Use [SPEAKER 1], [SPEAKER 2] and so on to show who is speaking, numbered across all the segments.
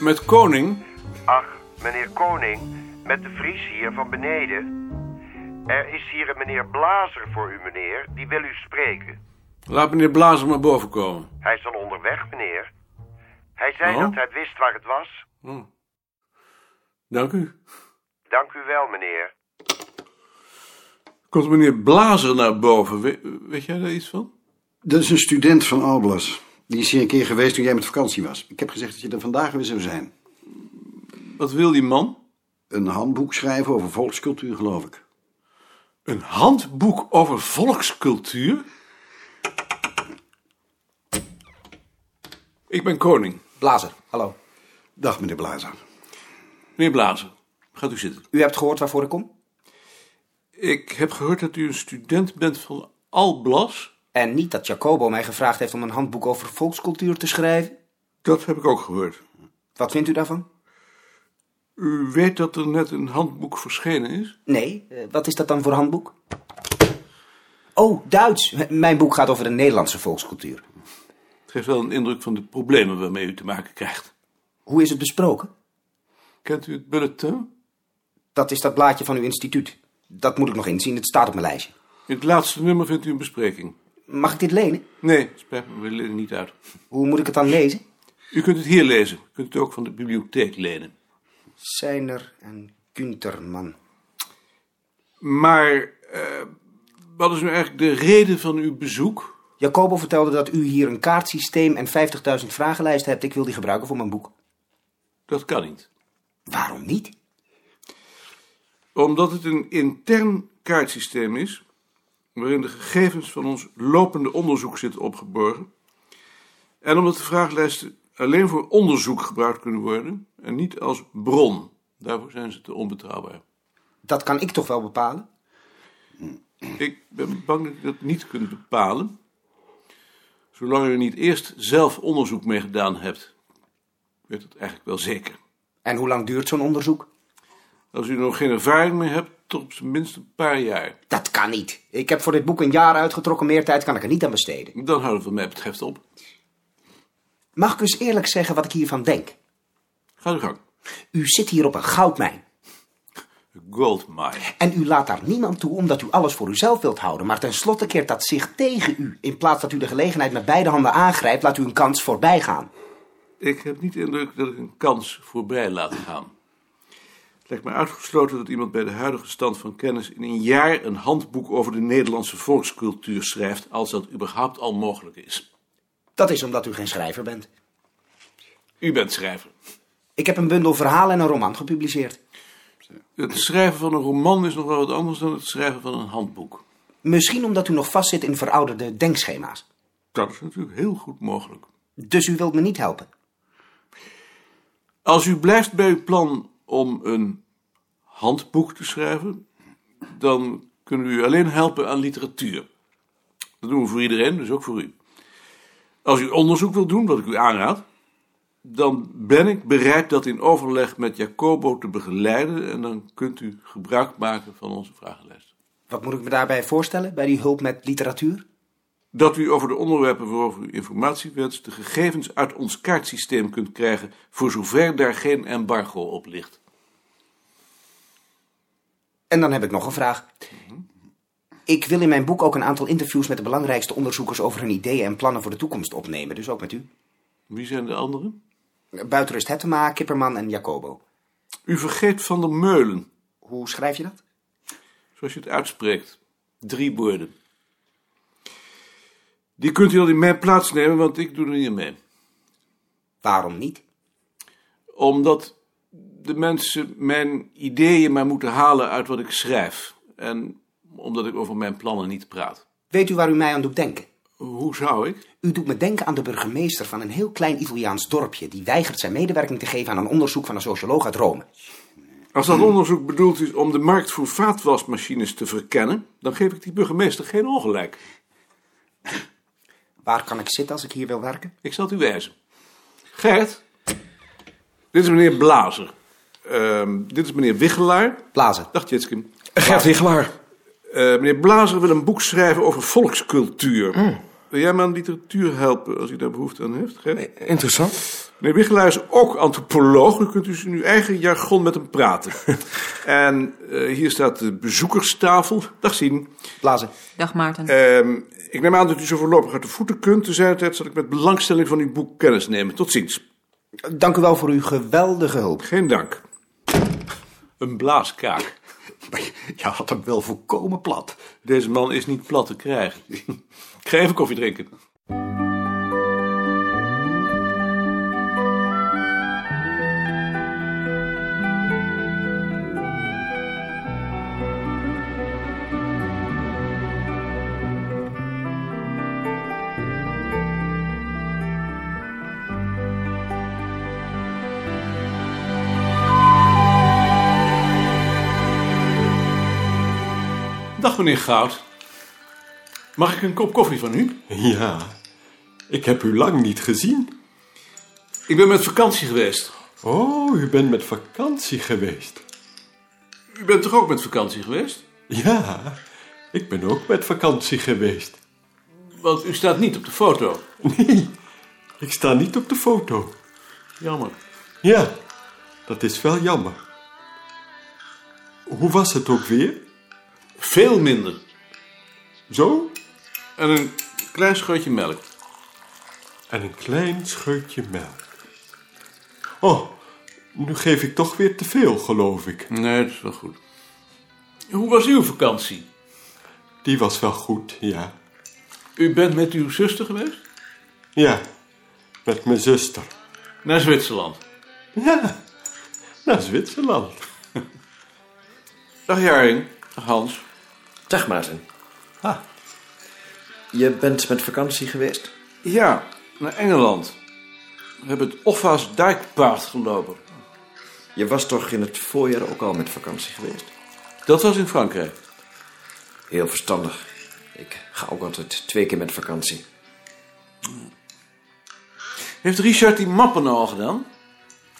[SPEAKER 1] met Koning.
[SPEAKER 2] Ach, meneer Koning, met de Vries hier van beneden. Er is hier een meneer Blazer voor u, meneer. Die wil u spreken.
[SPEAKER 1] Laat meneer Blazer maar boven komen.
[SPEAKER 2] Hij is al onderweg, meneer. Hij zei
[SPEAKER 1] Oh.
[SPEAKER 2] dat hij wist waar het was.
[SPEAKER 1] Dank u.
[SPEAKER 2] Dank u wel, meneer.
[SPEAKER 1] Komt meneer Blazer naar boven? We- weet jij daar iets van?
[SPEAKER 3] Dat is een student van Alblas. Die is hier een keer geweest toen jij met vakantie was. Ik heb gezegd dat je er vandaag weer zou zijn.
[SPEAKER 1] Wat wil die man?
[SPEAKER 3] Een handboek schrijven over volkscultuur, geloof ik.
[SPEAKER 1] Een handboek over volkscultuur? Ik ben Koning.
[SPEAKER 4] Blazer, hallo.
[SPEAKER 3] Dag, meneer Blazer.
[SPEAKER 1] Meneer Blazer, gaat u zitten.
[SPEAKER 4] U hebt gehoord waarvoor ik kom?
[SPEAKER 1] Ik heb gehoord dat u een student bent van Alblas.
[SPEAKER 4] En niet dat Jacobo mij gevraagd heeft om een handboek over volkscultuur te schrijven.
[SPEAKER 1] Dat heb ik ook gehoord.
[SPEAKER 4] Wat vindt u daarvan?
[SPEAKER 1] U weet dat er net een handboek verschenen is?
[SPEAKER 4] Nee, eh, wat is dat dan voor handboek? Oh, Duits. M- mijn boek gaat over de Nederlandse volkscultuur.
[SPEAKER 1] Het geeft wel een indruk van de problemen waarmee u te maken krijgt.
[SPEAKER 4] Hoe is het besproken?
[SPEAKER 1] Kent u het bulletin?
[SPEAKER 4] Dat is dat blaadje van uw instituut. Dat moet ik nog inzien, het staat op mijn lijstje.
[SPEAKER 1] In het laatste nummer vindt u een bespreking.
[SPEAKER 4] Mag ik dit lenen?
[SPEAKER 1] Nee, spijt me, we lenen niet uit.
[SPEAKER 4] Hoe moet ik het dan lezen?
[SPEAKER 1] U kunt het hier lezen. U kunt het ook van de bibliotheek lenen.
[SPEAKER 4] Seiner en Günterman.
[SPEAKER 1] Maar eh, wat is nu eigenlijk de reden van uw bezoek?
[SPEAKER 4] Jacobo vertelde dat u hier een kaartsysteem en 50.000 vragenlijsten hebt. Ik wil die gebruiken voor mijn boek.
[SPEAKER 1] Dat kan niet.
[SPEAKER 4] Waarom niet?
[SPEAKER 1] Omdat het een intern kaartsysteem is, waarin de gegevens van ons lopende onderzoek zitten opgeborgen. En omdat de vraaglijsten alleen voor onderzoek gebruikt kunnen worden en niet als bron. Daarvoor zijn ze te onbetrouwbaar.
[SPEAKER 4] Dat kan ik toch wel bepalen?
[SPEAKER 1] Ik ben bang dat u dat niet kunt bepalen, zolang u er niet eerst zelf onderzoek mee gedaan hebt. Ik weet dat eigenlijk wel zeker.
[SPEAKER 4] En hoe lang duurt zo'n onderzoek?
[SPEAKER 1] Als u er nog geen ervaring mee hebt, tot op zijn minst een paar jaar.
[SPEAKER 4] Dat kan niet. Ik heb voor dit boek een jaar uitgetrokken. Meer tijd kan ik er niet aan besteden.
[SPEAKER 1] Dan houden we wat mij betreft op.
[SPEAKER 4] Mag ik eens eerlijk zeggen wat ik hiervan denk?
[SPEAKER 1] Ga uw gang.
[SPEAKER 4] U zit hier op een goudmijn.
[SPEAKER 1] Goldmine.
[SPEAKER 4] En u laat daar niemand toe omdat u alles voor uzelf wilt houden. Maar tenslotte keert dat zich tegen u. In plaats dat u de gelegenheid met beide handen aangrijpt, laat u een kans voorbij gaan.
[SPEAKER 1] Ik heb niet de indruk dat ik een kans voorbij laat gaan. Het lijkt me uitgesloten dat iemand bij de huidige stand van kennis in een jaar een handboek over de Nederlandse volkscultuur schrijft, als dat überhaupt al mogelijk is.
[SPEAKER 4] Dat is omdat u geen schrijver bent.
[SPEAKER 1] U bent schrijver.
[SPEAKER 4] Ik heb een bundel verhalen en een roman gepubliceerd.
[SPEAKER 1] Het schrijven van een roman is nog wel wat anders dan het schrijven van een handboek.
[SPEAKER 4] Misschien omdat u nog vastzit in verouderde denkschema's.
[SPEAKER 1] Dat is natuurlijk heel goed mogelijk.
[SPEAKER 4] Dus u wilt me niet helpen.
[SPEAKER 1] Als u blijft bij uw plan om een handboek te schrijven, dan kunnen we u alleen helpen aan literatuur. Dat doen we voor iedereen, dus ook voor u. Als u onderzoek wilt doen, wat ik u aanraad, dan ben ik bereid dat in overleg met Jacobo te begeleiden en dan kunt u gebruik maken van onze vragenlijst.
[SPEAKER 4] Wat moet ik me daarbij voorstellen, bij die hulp met literatuur?
[SPEAKER 1] Dat u over de onderwerpen waarover u informatie wenst, de gegevens uit ons kaartsysteem kunt krijgen, voor zover daar geen embargo op ligt.
[SPEAKER 4] En dan heb ik nog een vraag. Ik wil in mijn boek ook een aantal interviews met de belangrijkste onderzoekers over hun ideeën en plannen voor de toekomst opnemen, dus ook met u.
[SPEAKER 1] Wie zijn de anderen?
[SPEAKER 4] Buitenrust Hettema, Kipperman en Jacobo.
[SPEAKER 1] U vergeet Van der Meulen,
[SPEAKER 4] Hoe schrijf je dat?
[SPEAKER 1] zoals je het uitspreekt. Drie woorden. Die kunt u dan in mijn plaats nemen, want ik doe er niet aan mee.
[SPEAKER 4] Waarom niet?
[SPEAKER 1] Omdat de mensen mijn ideeën maar moeten halen uit wat ik schrijf. En omdat ik over mijn plannen niet praat.
[SPEAKER 4] Weet u waar u mij aan doet denken?
[SPEAKER 1] Hoe zou ik?
[SPEAKER 4] U doet me denken aan de burgemeester van een heel klein Italiaans dorpje die weigert zijn medewerking te geven aan een onderzoek van een socioloog uit Rome.
[SPEAKER 1] Als dat onderzoek bedoeld is om de markt voor vaatwasmachines te verkennen, dan geef ik die burgemeester geen ongelijk.
[SPEAKER 4] Waar kan ik zitten als ik hier wil werken?
[SPEAKER 1] Ik zal het u wijzen. Gert, dit is meneer Blazer. Ehm, dit is meneer Wichelaar.
[SPEAKER 4] Blazen.
[SPEAKER 1] Dag Jitskim.
[SPEAKER 5] Gert Wichelaar.
[SPEAKER 1] Eh, meneer Blazer wil een boek schrijven over volkscultuur. Wil jij me aan literatuur helpen als u daar behoefte aan heeft? Ger? Nee.
[SPEAKER 5] Interessant.
[SPEAKER 1] Meneer Wichelaar is ook antropoloog. U kunt dus in uw eigen jargon met hem praten. en eh, hier staat de bezoekerstafel. Dag zien.
[SPEAKER 4] Blazen.
[SPEAKER 6] Dag Maarten.
[SPEAKER 1] Ehm, ik neem aan dat u zo voorlopig uit de voeten kunt. Te zijn tijd zal ik met belangstelling van uw boek kennis nemen. Tot ziens.
[SPEAKER 4] Dank u wel voor uw geweldige hulp.
[SPEAKER 1] Geen dank. Een blaaskaak.
[SPEAKER 3] Maar je- je had hem wel volkomen plat.
[SPEAKER 1] Deze man is niet plat te krijgen. ik ga even koffie drinken. Dag meneer Goud. Mag ik een kop koffie van u?
[SPEAKER 5] Ja, ik heb u lang niet gezien.
[SPEAKER 1] Ik ben met vakantie geweest.
[SPEAKER 5] Oh, u bent met vakantie geweest.
[SPEAKER 1] U bent toch ook met vakantie geweest?
[SPEAKER 5] Ja, ik ben ook met vakantie geweest.
[SPEAKER 1] Want u staat niet op de foto.
[SPEAKER 5] Nee, ik sta niet op de foto.
[SPEAKER 1] Jammer.
[SPEAKER 5] Ja, dat is wel jammer. Hoe was het ook weer?
[SPEAKER 1] Veel minder.
[SPEAKER 5] Zo?
[SPEAKER 1] En een klein scheutje melk.
[SPEAKER 5] En een klein scheutje melk. Oh, nu geef ik toch weer te veel, geloof ik.
[SPEAKER 1] Nee, dat is wel goed. Hoe was uw vakantie?
[SPEAKER 5] Die was wel goed, ja.
[SPEAKER 1] U bent met uw zuster geweest?
[SPEAKER 5] Ja, met mijn zuster.
[SPEAKER 1] Naar Zwitserland.
[SPEAKER 5] Ja, naar Zwitserland.
[SPEAKER 1] Dag Jaring. Dag Hans.
[SPEAKER 7] Dag Maarten.
[SPEAKER 1] Ah.
[SPEAKER 7] Je bent met vakantie geweest?
[SPEAKER 1] Ja, naar Engeland. We hebben het Offa's Dijkpaard gelopen.
[SPEAKER 7] Je was toch in het voorjaar ook al met vakantie geweest?
[SPEAKER 1] Dat was in Frankrijk.
[SPEAKER 7] Heel verstandig. Ik ga ook altijd twee keer met vakantie.
[SPEAKER 1] Heeft Richard die mappen nou al gedaan?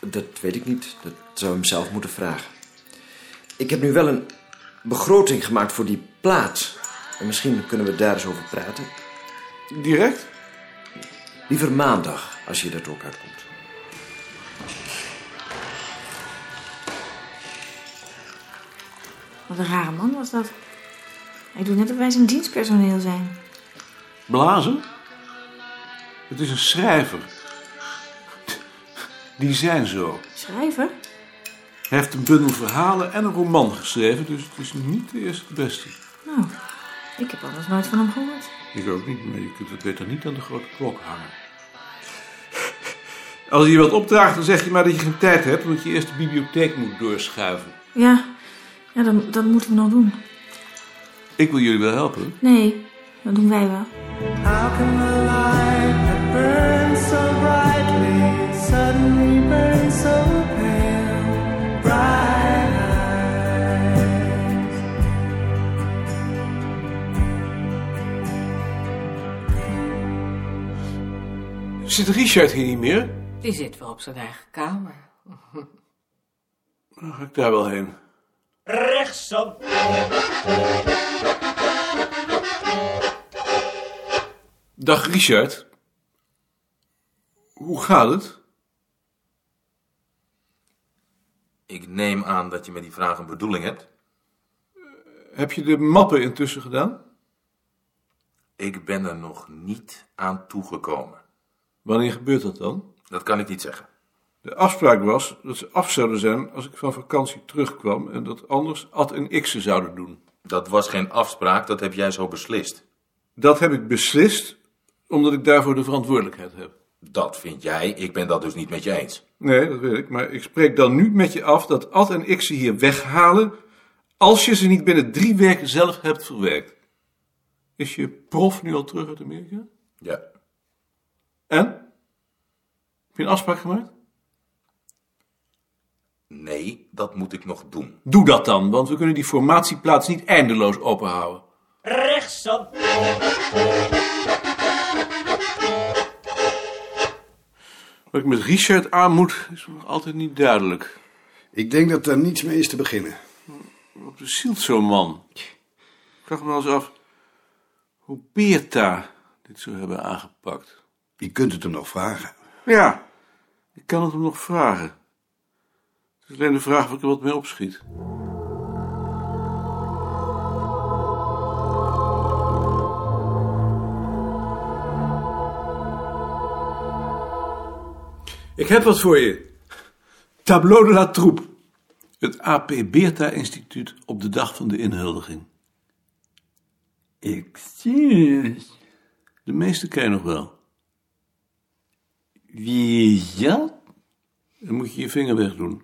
[SPEAKER 7] Dat weet ik niet. Dat zou hem zelf moeten vragen. Ik heb nu wel een begroting gemaakt voor die plaats. En misschien kunnen we daar eens over praten.
[SPEAKER 1] Direct?
[SPEAKER 7] Liever maandag, als je dat ook uitkomt.
[SPEAKER 8] Wat een rare man was dat. Hij doet net of wij zijn dienstpersoneel zijn.
[SPEAKER 1] Blazen? Het is een schrijver. Die zijn zo.
[SPEAKER 8] Schrijver?
[SPEAKER 1] Hij heeft een bundel verhalen en een roman geschreven, dus het is niet de eerste de beste.
[SPEAKER 8] Nou, ik heb anders nooit van hem gehoord.
[SPEAKER 1] Ik ook niet, maar je kunt het beter niet aan de grote klok hangen. Als je je wat opdraagt, dan zeg je maar dat je geen tijd hebt, omdat je eerst de bibliotheek moet doorschuiven.
[SPEAKER 8] Ja, ja dat, dat moeten we nog doen.
[SPEAKER 1] Ik wil jullie wel helpen.
[SPEAKER 8] Nee, dat doen wij wel.
[SPEAKER 9] How can the light that burns so brightly suddenly burn so pale? Bright eyes.
[SPEAKER 1] Zit Richard hier niet meer?
[SPEAKER 6] Die zit wel op zijn eigen kamer.
[SPEAKER 1] Dan ga ik daar wel heen. Dag Richard. Hoe gaat het?
[SPEAKER 10] Ik neem aan dat je met die vraag een bedoeling hebt.
[SPEAKER 1] Heb je de mappen intussen gedaan?
[SPEAKER 10] Ik ben er nog niet aan toegekomen.
[SPEAKER 1] Wanneer gebeurt dat dan?
[SPEAKER 10] Dat kan ik niet zeggen.
[SPEAKER 1] De afspraak was dat ze af zouden zijn als ik van vakantie terugkwam en dat anders Ad en ik ze zouden doen.
[SPEAKER 10] Dat was geen afspraak, dat heb jij zo beslist.
[SPEAKER 1] Dat heb ik beslist omdat ik daarvoor de verantwoordelijkheid heb.
[SPEAKER 10] Dat vind jij, ik ben dat dus niet met je eens.
[SPEAKER 1] Nee, dat weet ik, maar ik spreek dan nu met je af dat Ad en ik ze hier weghalen als je ze niet binnen drie weken zelf hebt verwerkt. Is je prof nu al terug uit Amerika?
[SPEAKER 10] Ja.
[SPEAKER 1] En? Heb je een afspraak gemaakt?
[SPEAKER 10] Nee, dat moet ik nog doen.
[SPEAKER 1] Doe dat dan, want we kunnen die formatieplaats niet eindeloos openhouden. Rechtsop! Wat ik met Richard aan moet, is me nog altijd niet duidelijk.
[SPEAKER 3] Ik denk dat daar niets mee is te beginnen.
[SPEAKER 1] Wat bezielt zo'n man? Ik vraag me wel eens af hoe Beerta, dit zou hebben aangepakt.
[SPEAKER 3] Je kunt het hem nog vragen.
[SPEAKER 1] Ja, ik kan het hem nog vragen. Het is alleen de vraag of ik er wat mee opschiet. Ik heb wat voor je. Tableau de la Troupe. Het AP Beerta Instituut op de dag van de inhuldiging.
[SPEAKER 11] Ik zie het.
[SPEAKER 1] De meeste ken je nog wel.
[SPEAKER 11] Wie is dat?
[SPEAKER 1] Dan moet je je vinger wegdoen.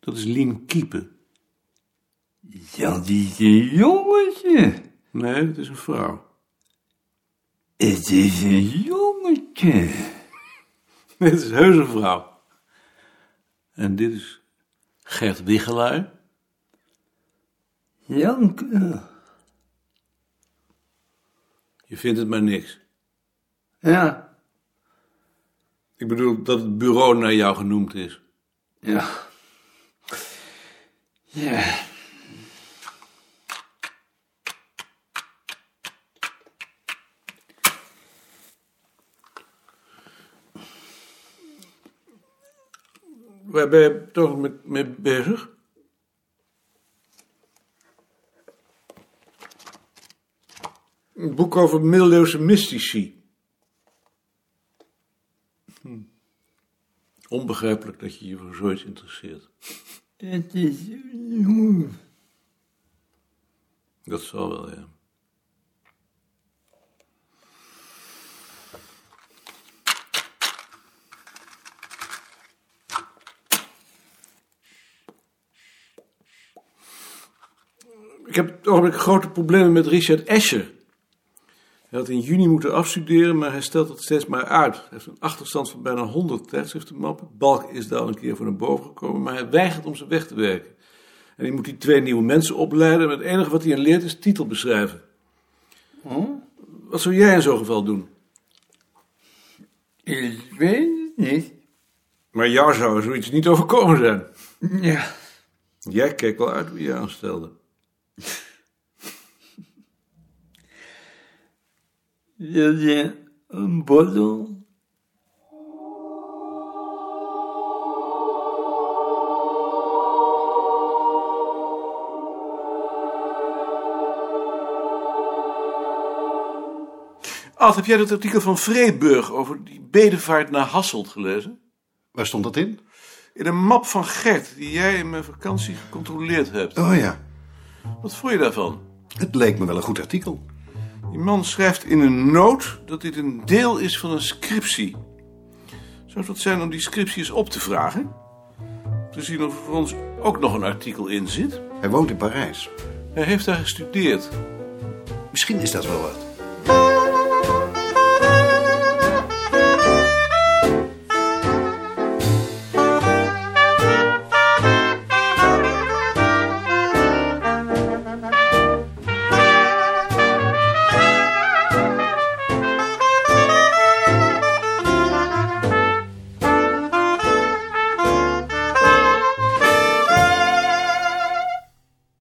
[SPEAKER 1] Dat is Lien Kiepen.
[SPEAKER 11] Dat is een jongetje.
[SPEAKER 1] Nee, dat is een vrouw.
[SPEAKER 11] Het is een jongetje.
[SPEAKER 1] Nee, het is heus een vrouw. En dit is Gert Wichelaar.
[SPEAKER 11] Dank u.
[SPEAKER 1] Je vindt het maar niks.
[SPEAKER 11] Ja,
[SPEAKER 1] Ik bedoel dat het bureau naar jou genoemd is.
[SPEAKER 11] ja. Ja.
[SPEAKER 1] Waar ben je toch met, mee bezig? Een boek over middeleeuwse mystici. Hm. Onbegrijpelijk dat je je voor zoiets interesseert.
[SPEAKER 11] Het is een jong.
[SPEAKER 1] Dat zal wel, ja. Ik heb op het ogenblik grote problemen met Richard Escher. Hij had in juni moeten afstuderen, maar hij stelt dat steeds maar uit. Hij heeft een achterstand van bijna 100 tijdschriftenmappen. Balk is daar al een keer voor naar boven gekomen, maar hij weigert om ze weg te werken. En hij moet die twee nieuwe mensen opleiden. En het enige wat hij hen leert is titel beschrijven. Wat zou jij in zo'n geval doen?
[SPEAKER 11] Ik weet het niet.
[SPEAKER 1] Maar jou zou er zoiets niet overkomen zijn.
[SPEAKER 11] Ja.
[SPEAKER 1] Jij keek wel uit wie je aanstelde.
[SPEAKER 11] Wil je een bottle?
[SPEAKER 1] Ad, heb jij dat artikel van Vreeburg over die bedevaart naar Hasselt gelezen?
[SPEAKER 3] Waar stond dat in?
[SPEAKER 1] In een map van Gert, die jij in mijn vakantie gecontroleerd hebt.
[SPEAKER 3] Oh ja,
[SPEAKER 1] Wat vond je daarvan?
[SPEAKER 3] het leek me wel een goed artikel.
[SPEAKER 1] Die man schrijft in een noot dat dit een deel is van een scriptie. Zou het wat zijn om die scriptie eens op te vragen? Om Te zien of er voor ons ook nog een artikel in zit.
[SPEAKER 3] Hij woont in Parijs.
[SPEAKER 1] Hij heeft daar gestudeerd.
[SPEAKER 3] Misschien is dat wel wat.